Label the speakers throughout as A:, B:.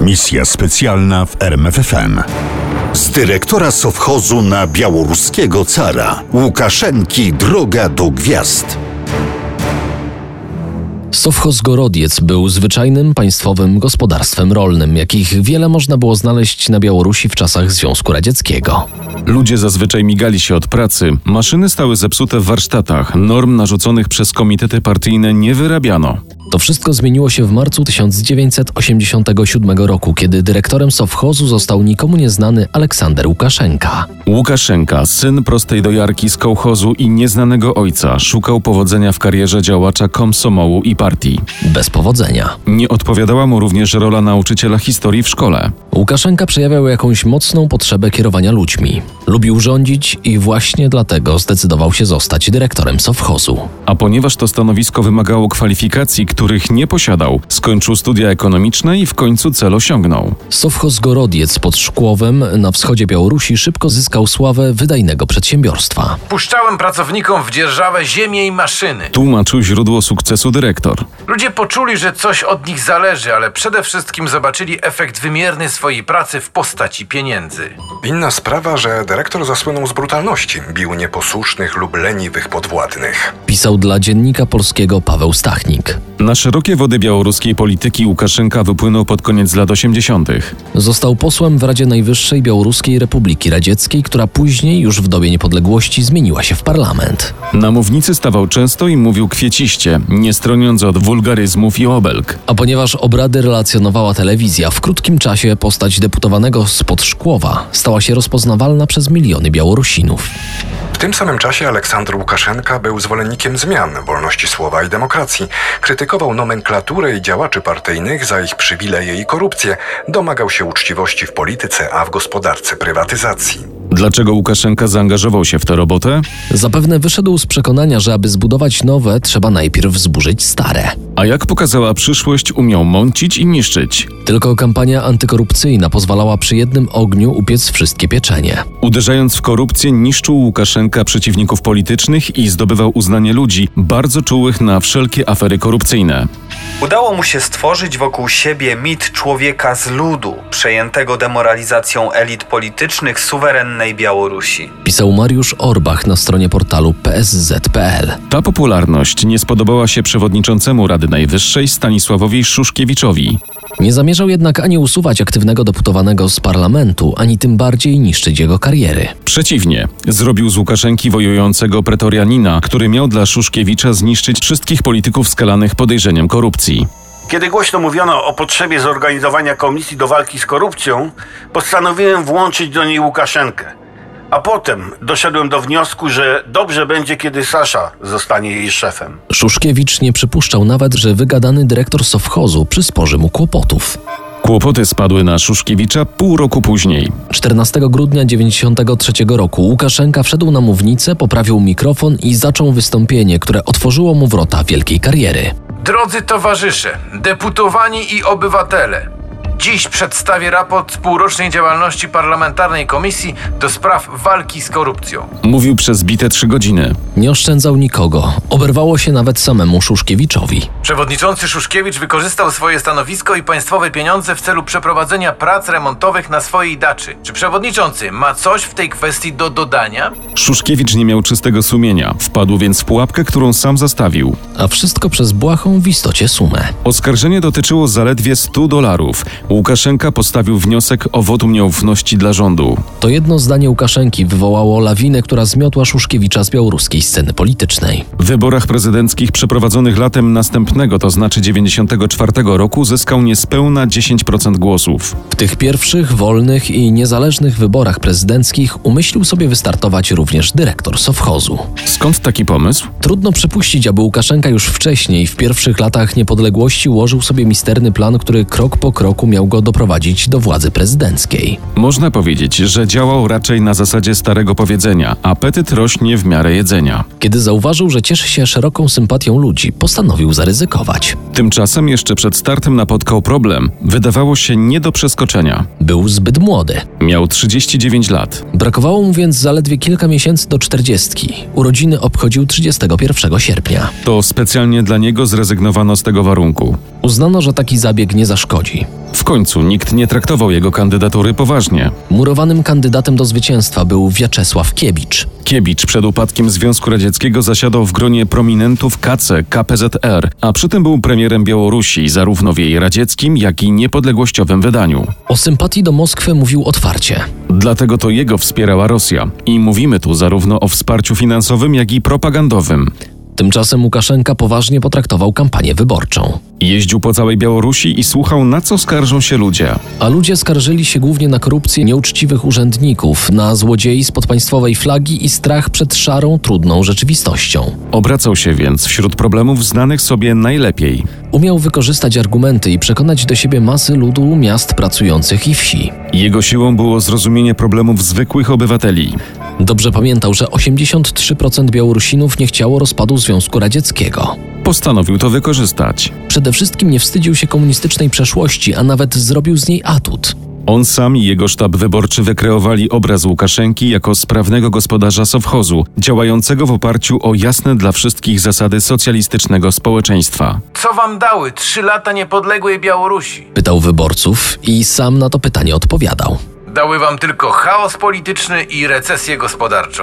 A: Misja specjalna w RMFFM. Z dyrektora sowchozu na białoruskiego cara Łukaszenki droga do gwiazd.
B: Sowchoz Gorodiec był zwyczajnym państwowym gospodarstwem rolnym, jakich wiele można było znaleźć na Białorusi w czasach Związku Radzieckiego.
C: Ludzie zazwyczaj migali się od pracy, maszyny stały zepsute w warsztatach, norm narzuconych przez komitety partyjne nie wyrabiano.
B: To wszystko zmieniło się w marcu 1987 roku, kiedy dyrektorem sowchozu został nikomu nieznany Aleksander Łukaszenka.
C: Łukaszenka, syn prostej dojarki z kołchozu i nieznanego ojca, szukał powodzenia w karierze działacza komsomołu i partii.
B: Bez powodzenia.
C: Nie odpowiadała mu również rola nauczyciela historii w szkole.
B: Łukaszenka przejawiał jakąś mocną potrzebę kierowania ludźmi. Lubił rządzić i właśnie dlatego zdecydował się zostać dyrektorem sowchozu.
C: A ponieważ to stanowisko wymagało kwalifikacji, których nie posiadał, skończył studia ekonomiczne i w końcu cel osiągnął.
B: Sowchoz Gorodiec pod Szkłowem na wschodzie Białorusi szybko zyskał sławę wydajnego przedsiębiorstwa.
D: Puszczałem pracownikom w dzierżawę ziemię i maszyny.
C: Tłumaczył źródło sukcesu dyrektor.
D: Ludzie poczuli, że coś od nich zależy, ale przede wszystkim zobaczyli efekt wymierny swojej pracy w postaci pieniędzy.
E: Inna sprawa, że dyrektor zasłynął z brutalności. Bił nieposłusznych lub leniwych podwładnych.
B: Pisał dla dziennika polskiego Paweł Stachnik.
C: Na szerokie wody białoruskiej polityki Łukaszenka wypłynął pod koniec lat 80.
B: Został posłem w Radzie Najwyższej Białoruskiej Republiki Radzieckiej, która później, już w dobie niepodległości, zmieniła się w parlament.
C: Na mównicy stawał często i mówił kwieciście, nie stroniąc od wulgaryzmów i obelg.
B: A ponieważ obrady relacjonowała telewizja, w krótkim czasie postać deputowanego spod Szkłowa stała się rozpoznawalna przez miliony Białorusinów.
E: W tym samym czasie Aleksander Łukaszenka był zwolennikiem zmian, wolności słowa i demokracji. Krytykował nomenklaturę i działaczy partyjnych za ich przywileje i korupcję. Domagał się uczciwości w polityce, a w gospodarce prywatyzacji.
C: Dlaczego Łukaszenka zaangażował się w tę robotę?
B: Zapewne wyszedł z przekonania, że aby zbudować nowe, trzeba najpierw zburzyć stare.
C: A jak pokazała przyszłość, umiał mącić i niszczyć.
B: Tylko kampania antykorupcyjna pozwalała przy jednym ogniu upiec wszystkie pieczenie.
C: Uderzając w korupcję, niszczył Łukaszenka przeciwników politycznych i zdobywał uznanie ludzi bardzo czułych na wszelkie afery korupcyjne.
F: Udało mu się stworzyć wokół siebie mit człowieka z ludu, przejętego demoralizacją elit politycznych suwerennej Białorusi.
B: Pisał Mariusz Orbach na stronie portalu psz.pl.
C: Ta popularność nie spodobała się przewodniczącemu Rady Najwyższej Stanisławowi Szuszkiewiczowi.
B: Nie zamierzał jednak ani usuwać aktywnego deputowanego z parlamentu, ani tym bardziej niszczyć jego kariery.
C: Przeciwnie, zrobił z Łukaszenki wojującego pretorianina, który miał dla Szuszkiewicza zniszczyć wszystkich polityków skalanych podejrzeniem korupcji.
G: Kiedy głośno mówiono o potrzebie zorganizowania komisji do walki z korupcją, postanowiłem włączyć do niej Łukaszenkę. A potem doszedłem do wniosku, że dobrze będzie, kiedy Sasza zostanie jej szefem.
B: Szuszkiewicz nie przypuszczał nawet, że wygadany dyrektor sowchozu przysporzy mu kłopotów.
C: Kłopoty spadły na Szuszkiewicza pół roku później.
B: 14 grudnia 93 roku Łukaszenka wszedł na mównicę, poprawił mikrofon i zaczął wystąpienie, które otworzyło mu wrota wielkiej kariery.
D: Drodzy towarzysze, deputowani i obywatele, dziś przedstawię raport z półrocznej działalności parlamentarnej komisji do spraw walki z korupcją.
C: Mówił przez bite trzy godziny.
B: Nie oszczędzał nikogo, oberwało się nawet samemu Szuszkiewiczowi.
D: Przewodniczący Szuszkiewicz wykorzystał swoje stanowisko i państwowe pieniądze w celu przeprowadzenia prac remontowych na swojej daczy. Czy przewodniczący ma coś w tej kwestii do dodania?
C: Szuszkiewicz nie miał czystego sumienia, wpadł więc w pułapkę, którą sam zastawił.
B: A wszystko przez błahą w istocie sumę.
C: Oskarżenie dotyczyło zaledwie 100 dolarów. Łukaszenka postawił wniosek o wotum nieufności dla rządu.
B: To jedno zdanie Łukaszenki wywołało lawinę, która zmiotła Szuszkiewicza z białoruskiej sceny politycznej.
C: W wyborach prezydenckich przeprowadzonych latem następnego, to znaczy 94 roku, zyskał niespełna 10% głosów.
B: W tych pierwszych, wolnych i niezależnych wyborach prezydenckich umyślił sobie wystartować również dyrektor sowchozu.
C: Skąd taki pomysł?
B: Trudno przypuścić, aby Łukaszenka już wcześniej, w pierwszych latach niepodległości, ułożył sobie misterny plan, który krok po kroku miał go doprowadzić do władzy prezydenckiej.
C: Można powiedzieć, że działał raczej na zasadzie starego powiedzenia: apetyt rośnie w miarę jedzenia.
B: Kiedy zauważył, że cieszy się szeroką sympatią ludzi, postanowił zaryzykować.
C: Tymczasem jeszcze przed startem napotkał problem. Wydawało się nie do przeskoczenia.
B: Był zbyt młody.
C: Miał 39 lat.
B: Brakowało mu więc zaledwie kilka miesięcy do czterdziestki. Urodziny obchodził 31 sierpnia.
C: To specjalnie dla niego zrezygnowano z tego warunku.
B: Uznano, że taki zabieg nie zaszkodzi.
C: W końcu nikt nie traktował jego kandydatury poważnie.
B: Murowanym kandydatem do zwycięstwa był Wiaczesław Kiebicz.
C: Kiebicz przed upadkiem Związku Radzieckiego zasiadał w gronie prominentów KC, KPZR, a przy tym był premierem Białorusi, zarówno w jej radzieckim, jak i niepodległościowym wydaniu.
B: O sympatii do Moskwy mówił otwarcie.
C: Dlatego to jego wspierała Rosja. I mówimy tu zarówno o wsparciu finansowym, jak i propagandowym.
B: Tymczasem Łukaszenka poważnie potraktował kampanię wyborczą.
C: Jeździł po całej Białorusi i słuchał, na co skarżą się ludzie.
B: A ludzie skarżyli się głównie na korupcję nieuczciwych urzędników, na złodziei spod państwowej flagi i strach przed szarą, trudną rzeczywistością.
C: Obracał się więc wśród problemów znanych sobie najlepiej.
B: Umiał wykorzystać argumenty i przekonać do siebie masy ludu, miast pracujących i wsi.
C: Jego siłą było zrozumienie problemów zwykłych obywateli.
B: Dobrze pamiętał, że 83% Białorusinów nie chciało rozpadu Związku Radzieckiego.
C: Postanowił to wykorzystać.
B: Przede wszystkim nie wstydził się komunistycznej przeszłości, a nawet zrobił z niej atut.
C: On sam i jego sztab wyborczy wykreowali obraz Łukaszenki jako sprawnego gospodarza sowchozu, działającego w oparciu o jasne dla wszystkich zasady socjalistycznego społeczeństwa.
D: Co wam dały trzy lata niepodległej Białorusi?
B: Pytał wyborców i sam na to pytanie odpowiadał.
D: Dały wam tylko chaos polityczny i recesję gospodarczą.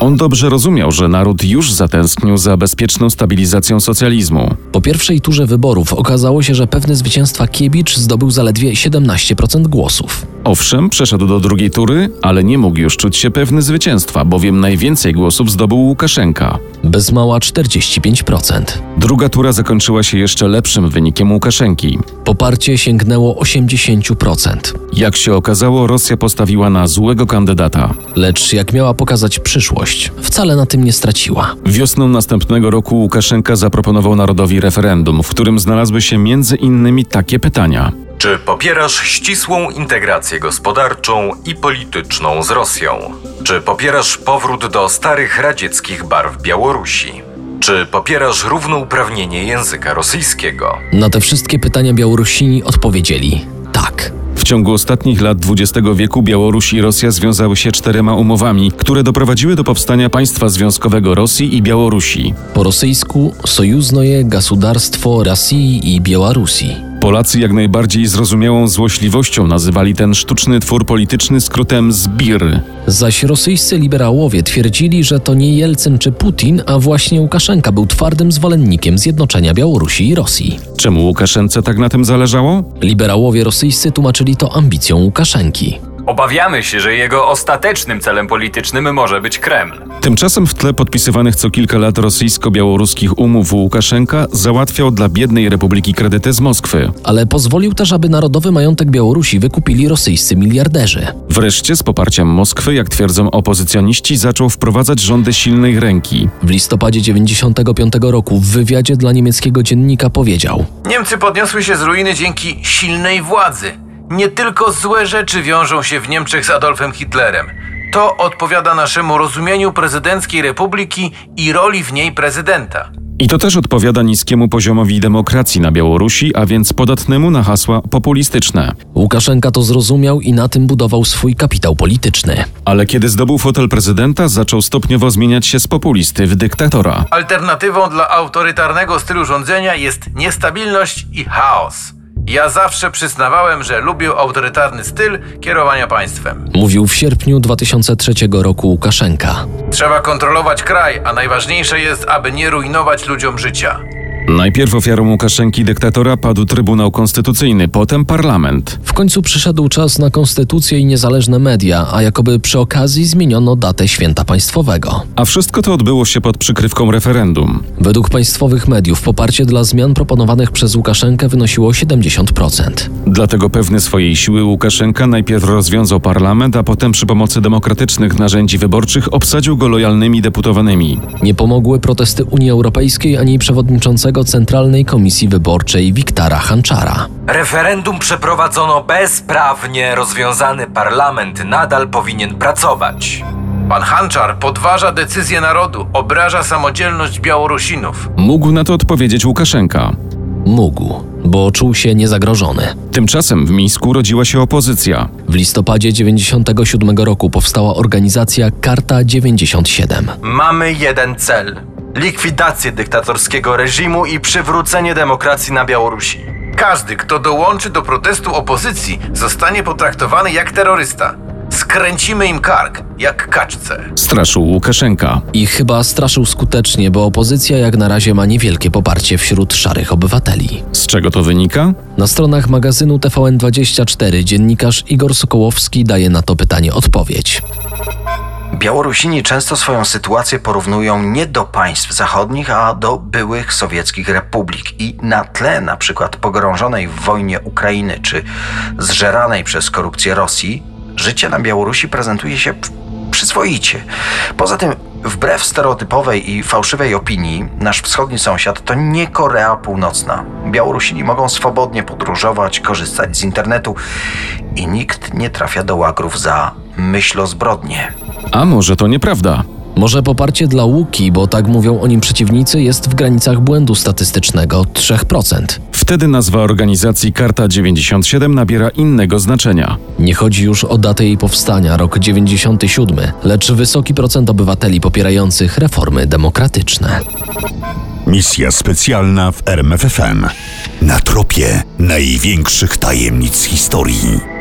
C: On dobrze rozumiał, że naród już zatęsknił za bezpieczną stabilizacją socjalizmu.
B: Po pierwszej turze wyborów okazało się, że pewny zwycięstwa Kiebicz zdobył zaledwie 17% głosów.
C: Owszem, przeszedł do drugiej tury, ale nie mógł już czuć się pewny zwycięstwa, bowiem najwięcej głosów zdobył Łukaszenka.
B: Bez mała 45%.
C: Druga tura zakończyła się jeszcze lepszym wynikiem Łukaszenki.
B: Poparcie sięgnęło 80%.
C: Jak się okazało, Rosja postawiła na złego kandydata.
B: Lecz jak miała pokazać przyszłość, wcale na tym nie straciła.
C: Wiosną następnego roku Łukaszenka zaproponował narodowi referendum, w którym znalazły się między innymi takie pytania.
H: Czy popierasz ścisłą integrację gospodarczą i polityczną z Rosją? Czy popierasz powrót do starych radzieckich barw Białorusi? Czy popierasz równouprawnienie języka rosyjskiego?
B: Na te wszystkie pytania Białorusini odpowiedzieli tak.
C: W ciągu ostatnich lat XX wieku Białoruś i Rosja związały się czterema umowami, które doprowadziły do powstania państwa związkowego Rosji i Białorusi.
B: Po rosyjsku Sojuznoje Gasudarstwo Rosji i Białorusi.
C: Polacy jak najbardziej zrozumiałą złośliwością nazywali ten sztuczny twór polityczny skrótem ZBIR.
B: Zaś rosyjscy liberałowie twierdzili, że to nie Jelcyn czy Putin, a właśnie Łukaszenka był twardym zwolennikiem zjednoczenia Białorusi i Rosji.
C: Czemu Łukaszence tak na tym zależało?
B: Liberałowie rosyjscy tłumaczyli to ambicją Łukaszenki.
H: Obawiamy się, że jego ostatecznym celem politycznym może być Kreml.
C: Tymczasem w tle podpisywanych co kilka lat rosyjsko-białoruskich umów Łukaszenka załatwiał dla biednej republiki kredyty z Moskwy.
B: Ale pozwolił też, aby narodowy majątek Białorusi wykupili rosyjscy miliarderzy.
C: Wreszcie z poparciem Moskwy, jak twierdzą opozycjoniści, zaczął wprowadzać rządy silnej ręki.
B: W listopadzie 95 roku w wywiadzie dla niemieckiego dziennika powiedział:
D: Niemcy podniosły się z ruiny dzięki silnej władzy. Nie tylko złe rzeczy wiążą się w Niemczech z Adolfem Hitlerem. To odpowiada naszemu rozumieniu prezydenckiej republiki i roli w niej prezydenta.
C: I to też odpowiada niskiemu poziomowi demokracji na Białorusi, a więc podatnemu na hasła populistyczne.
B: Łukaszenka to zrozumiał i na tym budował swój kapitał polityczny.
C: Ale kiedy zdobył fotel prezydenta, zaczął stopniowo zmieniać się z populisty w dyktatora.
D: Alternatywą dla autorytarnego stylu rządzenia jest niestabilność i chaos. Ja zawsze przyznawałem, że lubię autorytarny styl kierowania państwem.
B: Mówił w sierpniu 2003 roku Łukaszenka.
D: Trzeba kontrolować kraj, a najważniejsze jest, aby nie rujnować ludziom życia.
C: Najpierw ofiarą Łukaszenki i dyktatora padł Trybunał Konstytucyjny, potem parlament.
B: W końcu przyszedł czas na konstytucję i niezależne media, a jakoby przy okazji zmieniono datę święta państwowego.
C: A wszystko to odbyło się pod przykrywką referendum.
B: Według państwowych mediów poparcie dla zmian proponowanych przez Łukaszenkę wynosiło 70%.
C: Dlatego pewny swojej siły Łukaszenka najpierw rozwiązał parlament, a potem przy pomocy demokratycznych narzędzi wyborczych obsadził go lojalnymi deputowanymi.
B: Nie pomogły protesty Unii Europejskiej ani przewodniczącego Centralnej Komisji Wyborczej Wiktara Hanczara.
H: Referendum przeprowadzono bezprawnie, rozwiązany parlament nadal powinien pracować.
D: Pan Hanczar podważa decyzję narodu, obraża samodzielność Białorusinów.
C: Mógł na to odpowiedzieć Łukaszenka.
B: Mógł, bo czuł się niezagrożony.
C: Tymczasem w Mińsku rodziła się opozycja.
B: W listopadzie 97 roku powstała organizacja Karta 97.
I: Mamy jeden cel: likwidację dyktatorskiego reżimu i przywrócenie demokracji na Białorusi.
D: Każdy, kto dołączy do protestu opozycji, zostanie potraktowany jak terrorysta. Skręcimy im kark, jak kaczce.
C: Straszył Łukaszenka.
B: I chyba straszył skutecznie, bo opozycja jak na razie ma niewielkie poparcie wśród szarych obywateli.
C: Z czego to wynika?
B: Na stronach magazynu TVN24 dziennikarz Igor Sokołowski daje na to pytanie odpowiedź.
J: Białorusini często swoją sytuację porównują nie do państw zachodnich, a do byłych sowieckich republik i na tle na przykład pogrążonej w wojnie Ukrainy czy zżeranej przez korupcję Rosji, życie na Białorusi prezentuje się przyzwoicie. Poza tym, wbrew stereotypowej i fałszywej opinii, nasz wschodni sąsiad to nie Korea Północna. Białorusini mogą swobodnie podróżować, korzystać z internetu i nikt nie trafia do łagrów za myślozbrodnie.
C: A może to nieprawda?
B: Może poparcie dla Łuki, bo tak mówią o nim przeciwnicy, jest w granicach błędu statystycznego 3%.
C: Wtedy nazwa organizacji Karta 97 nabiera innego znaczenia.
B: Nie chodzi już o datę jej powstania, rok 97, lecz wysoki procent obywateli popierających reformy demokratyczne.
A: Misja specjalna w RMFFM. Na tropie największych tajemnic historii.